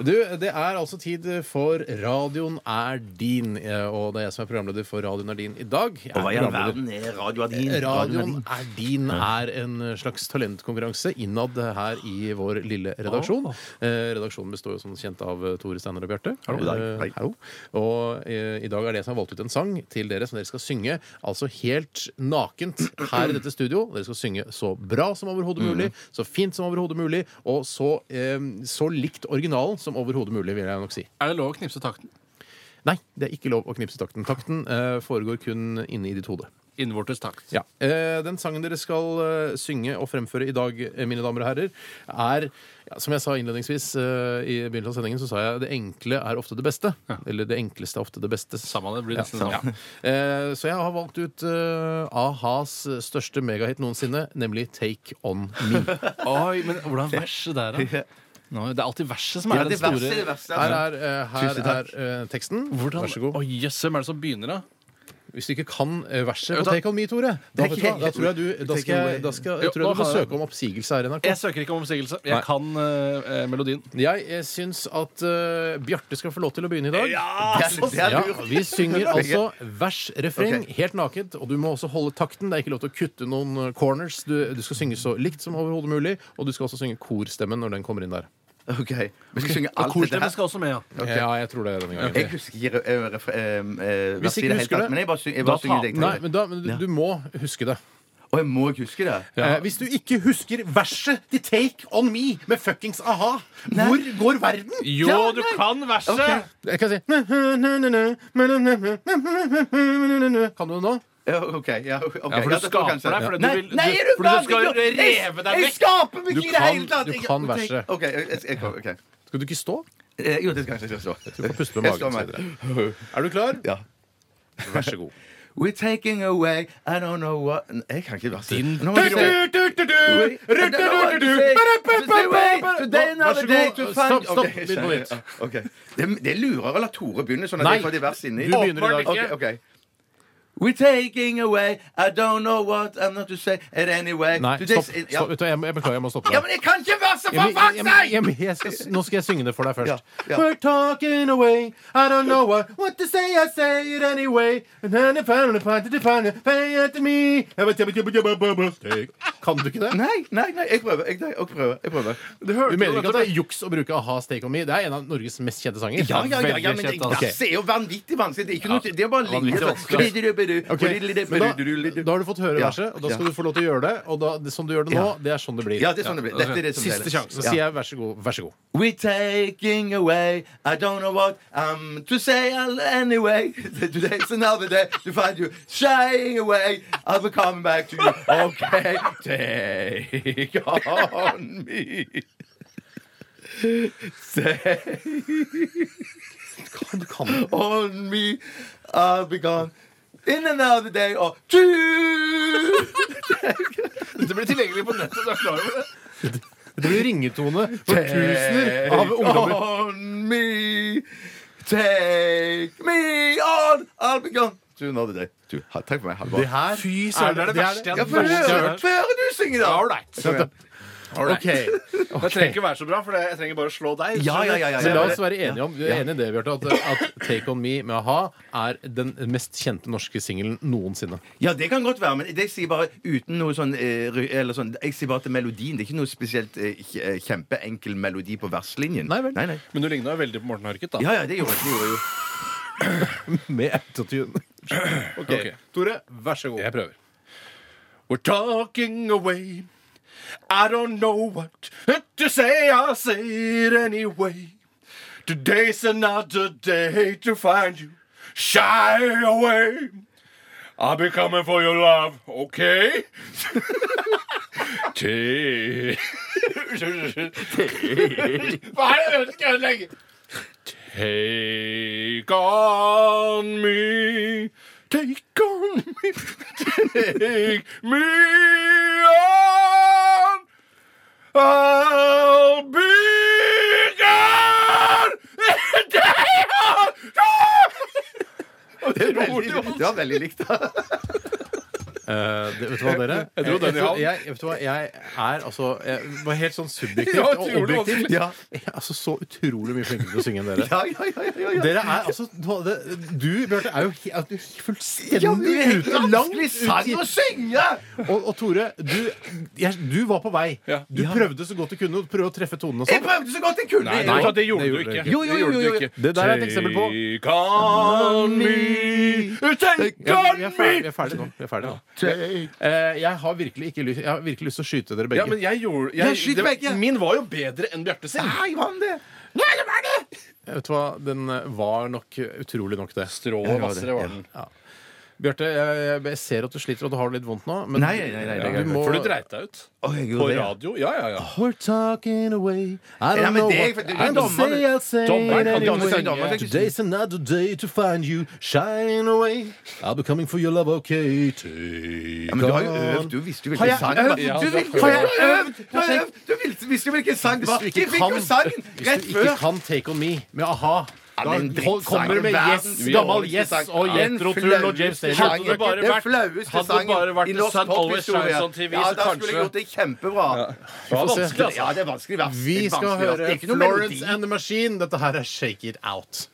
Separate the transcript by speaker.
Speaker 1: Du, Det er altså tid for Radioen er din. eh, Og det er jeg som er programleder for Radioen er din i dag. Jeg er
Speaker 2: Og hva i all
Speaker 1: programleder.
Speaker 2: verden er Eh, radioen din?
Speaker 1: Radioen er din er en slags talentkonkurranse innad her i vår lille redaksjon. Eh, Redaksjonen består jo som kjent av eh, Tore Steinar og Bjarte.
Speaker 2: Hallo, god dag.
Speaker 1: Eh,
Speaker 2: Hei.
Speaker 1: Hallo. Og eh, i dag er det som har valgt ut en sang til dere som dere skal synge altså helt nakent her i dette studio. Dere skal synge så bra som overhodet mulig, så fint som overhodet mulig, og så, eh, så likt originalen som overhodet mulig, vil jeg nok si.
Speaker 3: Er det lov å knipse takten?
Speaker 1: Nei, det er ikke lov å knipse takten. Takten eh, foregår kun inne i ditt hode.
Speaker 3: Innvortes takt.
Speaker 1: Ja. Eh, den sangen dere skal eh, synge og fremføre i dag, eh, mine damer og herrer, er ja, Som jeg sa innledningsvis eh, i begynnelsen av sendingen, så sa jeg det enkle er ofte det beste. Eller det enkleste er ofte det beste.
Speaker 3: Samme det blir
Speaker 1: Ja,
Speaker 3: nesten
Speaker 1: ja.
Speaker 3: sånn.
Speaker 1: Eh, så jeg har valgt ut eh, a-has største megahit noensinne, nemlig Take On Me.
Speaker 3: Oi, men hvordan er verset der, da? Nå, det er alltid verset som
Speaker 2: Ja,
Speaker 3: er
Speaker 2: det
Speaker 3: den
Speaker 2: verste, det
Speaker 3: store
Speaker 2: verste.
Speaker 1: Her er, eh, her
Speaker 2: Tusen
Speaker 1: er
Speaker 2: takk.
Speaker 1: eh, teksten.
Speaker 3: hvordan,
Speaker 1: Vær så god.
Speaker 3: Oi, jøss, hvem er det som begynner, da?
Speaker 1: Hvis du ikke kan eh, verset på
Speaker 3: Vet du hva?
Speaker 1: Take On Me, Tore, da,
Speaker 2: Det er
Speaker 1: vet du hva,
Speaker 2: ikke-
Speaker 1: da tror jeg du da
Speaker 2: Take
Speaker 1: skal,
Speaker 2: On
Speaker 1: jeg-
Speaker 2: Me.
Speaker 1: da skal,
Speaker 3: Jo,
Speaker 1: jeg tror jeg
Speaker 3: nå
Speaker 1: du får
Speaker 3: har jeg-
Speaker 1: søke om oppsigelse her i NRK.
Speaker 3: Jeg søker ikke om oppsigelse. Jeg
Speaker 1: Nei.
Speaker 3: kan eh, eh, melodien.
Speaker 1: Jeg, jeg syns at eh, Bjarte skal få lov til å begynne i dag.
Speaker 2: Det er- det er
Speaker 1: Ja,
Speaker 2: lurt.
Speaker 1: vi synger altså vers, refreng,
Speaker 2: Ok.
Speaker 1: helt nakent. Og du må også holde takten. Det er ikke lov til å kutte noen eh, corners. Du, du skal synge så likt som overhodet mulig, og du skal også synge korstemmen når den kommer inn der.
Speaker 2: OK. Vi skal synge
Speaker 3: Og
Speaker 2: alt det
Speaker 3: korstemmen
Speaker 2: der.
Speaker 3: skal også med, ja.
Speaker 2: Ok.
Speaker 1: Ja, jeg tror det er denne gangen.
Speaker 2: Jeg husker ikke eh, ref- eh, eh,
Speaker 1: Hvis
Speaker 2: verset i
Speaker 1: ikke
Speaker 2: det hele
Speaker 1: husker
Speaker 2: tatt,
Speaker 1: det,
Speaker 2: men jeg bare synger, jeg bare
Speaker 3: da
Speaker 2: synger
Speaker 3: ta-
Speaker 2: det.
Speaker 1: Nei, men, da, men du, du må huske det.
Speaker 2: Og jeg må ikke huske det.
Speaker 1: Eh, hvis du ikke husker verset til Take On Me med fuckings a-ha, hvor går verden?
Speaker 3: Jo, du kan verset!
Speaker 2: Ok.
Speaker 1: Jeg kan si Kan du det nå?
Speaker 2: Ja, OK. Ja, ok.
Speaker 3: Ja,
Speaker 2: Ja,
Speaker 3: for du
Speaker 2: dette var
Speaker 3: skaper
Speaker 2: kanskje-
Speaker 3: deg, for
Speaker 2: Nei,
Speaker 3: du vil-
Speaker 2: nei,
Speaker 3: du-
Speaker 2: er du
Speaker 3: for du
Speaker 2: galen?
Speaker 3: skal
Speaker 2: Jeg-
Speaker 3: reve deg
Speaker 2: Jeg
Speaker 3: vekk.
Speaker 2: skaper meg
Speaker 1: Du
Speaker 2: ikke i det
Speaker 1: kan-
Speaker 2: hele tatt!
Speaker 1: du
Speaker 2: Jeg-
Speaker 1: kan verset.
Speaker 2: OK. Jeg, jeg, jeg, ok.
Speaker 1: Skal du ikke stå?
Speaker 2: Eh, Jo, det skal jeg kanskje stå.
Speaker 1: Du får puste med
Speaker 2: Jeg står
Speaker 1: magen. så
Speaker 2: med.
Speaker 1: videre. Er du klar?
Speaker 2: Ja.
Speaker 1: Vær så god.
Speaker 2: We're taking away I don't know what Jeg kan ikke verset.
Speaker 3: Din-
Speaker 2: Nå må jeg se.
Speaker 1: Stopp, stopp.
Speaker 2: Ok,
Speaker 1: Begynn på nytt.
Speaker 2: ok. Det, det lurer å la Tore begynne sånn at
Speaker 1: Nei.
Speaker 2: jeg får de vers inni.
Speaker 1: Du begynner i dag.
Speaker 2: Ok, ok. We're taking away I don't know what I'm not to say it anyway
Speaker 1: Nei,
Speaker 2: To
Speaker 1: stopp.
Speaker 2: this-
Speaker 1: stopp.
Speaker 2: Ja.
Speaker 1: Vet du, hva, jeg, må- jeg beklager, jeg må stoppe
Speaker 2: ja,
Speaker 1: deg.
Speaker 2: men jeg kan ikke verset,
Speaker 1: Jeg,
Speaker 2: for
Speaker 1: jeg,
Speaker 2: faen
Speaker 1: jeg,
Speaker 2: seg!
Speaker 1: jeg, jeg skal, nå skal jeg synge det for deg først.
Speaker 2: Ja, ja.
Speaker 1: We're talking away, I don't know what, what to say, I say it anyway. Kan du ikke det?
Speaker 2: Nei, nei, nei, jeg prøver. Jeg, nei, jeg prøver, jeg prøver.
Speaker 1: Du mener ikke at det er juks å bruke a-ha Stake On Me? Det er en av Norges mest kjente sanger.
Speaker 2: Ja, ja, ja, ja, men
Speaker 3: Veldig kjent, altså.
Speaker 2: vers er jo vanvittig vanskelig. Det er, ikke noe, det er bare
Speaker 3: vanvittig
Speaker 2: linjer.
Speaker 1: altså. Ok, men da, da har du fått høre verset, og da skal du få lov til å gjøre det. Og da, det, som du gjør det nå,
Speaker 2: Ja.
Speaker 1: det er sånn det blir.
Speaker 2: Ja, det er sånn det blir. Dette er det som
Speaker 3: Siste
Speaker 2: gjelder.
Speaker 3: sjanse.
Speaker 1: Så sier jeg vær så god. Vær så god.
Speaker 2: We're taking away I don't know what I'm to say I'll- anyway Today's another day to find you shying away I'll be coming back to you Okay, take on me Take
Speaker 1: Du kan det.
Speaker 2: on me I'll be gone In another day or two
Speaker 3: Dette blir tilgjengelig på nettet. Du er klar over det?
Speaker 1: Det blir ringetone for tusener av ungdommer.
Speaker 2: Eh, on me Take me on I'll be gone to another day to. Ha- Takk for meg, ha det bra.
Speaker 1: Det her
Speaker 3: Fy søren, det er det verste jeg
Speaker 2: Ja,
Speaker 3: har
Speaker 2: få høre
Speaker 3: hørt.
Speaker 2: få høre du synge, da!
Speaker 3: All right.
Speaker 1: OK.
Speaker 3: Det trenger ikke være så bra, for jeg trenger bare å slå deg.
Speaker 2: Ja, ja, ja, ja,
Speaker 1: Men
Speaker 2: ja.
Speaker 1: la oss være enige om Du er enig i det, Bjarte, at, at Take On Me med a-ha er den mest kjente norske singelen noensinne.
Speaker 2: Ja, det kan godt være, men det jeg sier bare uten noe sånn, eh, ry- eller sånn Jeg sier bare til melodien. Det er ikke noe spesielt eh, kj- eh, kjempeenkel melodi på verslinjen.
Speaker 1: Nei vel.
Speaker 2: Nei, nei.
Speaker 3: Men du ligna veldig på Morten Harket, da.
Speaker 2: Ja, ja, det gjorde jeg. Det gjorde jeg jo.
Speaker 1: Med autotune.
Speaker 3: Ok.
Speaker 1: Tore, vær så god.
Speaker 3: Jeg prøver. We're talking away. I don't know what to say. I'll say it anyway. Today's another day to find you. Shy away. I'll be coming for your love, okay? Take Hva er det du skal ødelegge? Take on me. Take on me. Take me on. I'll be gone.
Speaker 2: Det var veldig likt. Det var veldig likt.
Speaker 1: Eh, Eh, det, vet du hva, dere?
Speaker 3: Jeg dro den i havn.
Speaker 1: jeg, jeg, vet du hva, jeg er altså jeg var helt sånn subjektivt
Speaker 3: Ja,
Speaker 1: og
Speaker 3: utrolig
Speaker 1: objektivt.
Speaker 3: vanskelig.
Speaker 1: Jeg er altså så utrolig mye flinkere til å synge enn dere.
Speaker 2: Ja, ja, ja, ja, ja.
Speaker 1: Dere er altså Du, du, Bjarte, er jo he- er du fullstendig
Speaker 2: Ja, men det er
Speaker 1: ute. Langt
Speaker 2: vanskelig
Speaker 1: ut
Speaker 2: sang
Speaker 1: i
Speaker 2: å synge!
Speaker 1: og, og Tore, du, jeg, du var på vei.
Speaker 3: Ja.
Speaker 1: Du prøvde så godt du kunne. Du prøvde å treffe tonene og
Speaker 2: Jeg
Speaker 1: sånn.
Speaker 2: prøvde så godt jeg kunne.
Speaker 3: Nei,
Speaker 1: nei,
Speaker 3: det gjorde
Speaker 1: det gjorde
Speaker 3: du
Speaker 1: du
Speaker 3: ikke.
Speaker 1: ikke. Jo, jo, jo,
Speaker 3: Det
Speaker 1: jo,
Speaker 3: gjorde du
Speaker 1: jo.
Speaker 3: ikke.
Speaker 1: Det der er et eksempel på-
Speaker 3: Take on me, take
Speaker 1: Ja,
Speaker 3: on
Speaker 1: vi, er ferdig, vi
Speaker 3: me.
Speaker 1: er ferdig nå. Vi er ferdig nå. Eh, jeg har virkelig ikke lyst Jeg har virkelig lyst til å skyte dere begge.
Speaker 3: Ja, men jeg gjorde
Speaker 2: Nei, skyt
Speaker 3: det-
Speaker 2: begge.
Speaker 3: Min var jo bedre enn Bjarte sin.
Speaker 2: Nei, mann, det.
Speaker 1: Vet du hva, Den eh, var nok eh, utrolig nok det.
Speaker 3: Strå og vassere var den.
Speaker 1: Bjarte, jeg, jeg- jeg ser at du sliter og du har det litt vondt nå, men
Speaker 2: Nei, nei, nei, nei,
Speaker 1: du
Speaker 2: nei,
Speaker 1: må Ah,
Speaker 3: For du dreit deg ut.
Speaker 2: Å, jeg
Speaker 3: På
Speaker 2: gjorde det, ja.
Speaker 3: radio. Ja, ja, ja.
Speaker 1: We're talking away. I
Speaker 2: Ja,
Speaker 1: don't
Speaker 2: men
Speaker 1: know
Speaker 2: det er-
Speaker 1: what
Speaker 2: for det er
Speaker 1: I don't
Speaker 2: dommer,
Speaker 1: say
Speaker 2: det.
Speaker 1: I'll say
Speaker 3: Dommer
Speaker 1: it
Speaker 3: kan
Speaker 1: anyway.
Speaker 3: dommer si,
Speaker 2: dommer kan ikke si.
Speaker 1: Today's another day to find you. Shine away. I'll be coming for your love, okay? Take
Speaker 2: Ja, men du har jo
Speaker 1: on.
Speaker 2: øvd. Du visste jo
Speaker 1: Har jeg
Speaker 2: hvilken sang
Speaker 1: øvd?
Speaker 2: det
Speaker 3: Ja,
Speaker 2: var. Du
Speaker 3: du har
Speaker 2: visste- har jeg
Speaker 1: prøvd.
Speaker 2: øvd! Du har øvd! Du visste- visste jo hvilken sang det var.
Speaker 1: Hvis du
Speaker 2: Jeg
Speaker 1: ikke
Speaker 2: fikk
Speaker 1: kan,
Speaker 2: jo sangen
Speaker 1: hvis
Speaker 2: rett
Speaker 1: du ikke
Speaker 2: før.
Speaker 1: kan Take On Me med a-ha da
Speaker 2: men
Speaker 1: hol- kommer du med
Speaker 2: drittsang.
Speaker 1: Yes,
Speaker 2: Verdens
Speaker 1: gammel
Speaker 2: dårligste
Speaker 1: Yes
Speaker 2: sang.
Speaker 1: og
Speaker 2: Ja.
Speaker 1: Jetro Tull og James
Speaker 2: Den
Speaker 1: Taylor.
Speaker 3: Hadde
Speaker 2: flaueste
Speaker 3: det bare
Speaker 2: sangen. Den
Speaker 3: vært-
Speaker 2: flaueste
Speaker 3: hadde det
Speaker 2: sangen
Speaker 3: bare vært
Speaker 2: i norsk
Speaker 3: Sun Always
Speaker 2: pophistorie.
Speaker 3: Shines on TV,
Speaker 2: Ja,
Speaker 3: så
Speaker 2: da skulle jeg
Speaker 3: kanskje-
Speaker 2: gjort det kjempebra.
Speaker 3: Det var
Speaker 1: får se.
Speaker 3: vanskelig, altså.
Speaker 2: Ja, det er vanskelig vers.
Speaker 1: Vi
Speaker 2: Det er
Speaker 1: skal
Speaker 2: vanskelig vers. Det
Speaker 1: høre
Speaker 2: er ikke noe
Speaker 1: Florence
Speaker 2: melodi.
Speaker 1: and the Machine. Dette her er Shake It Out.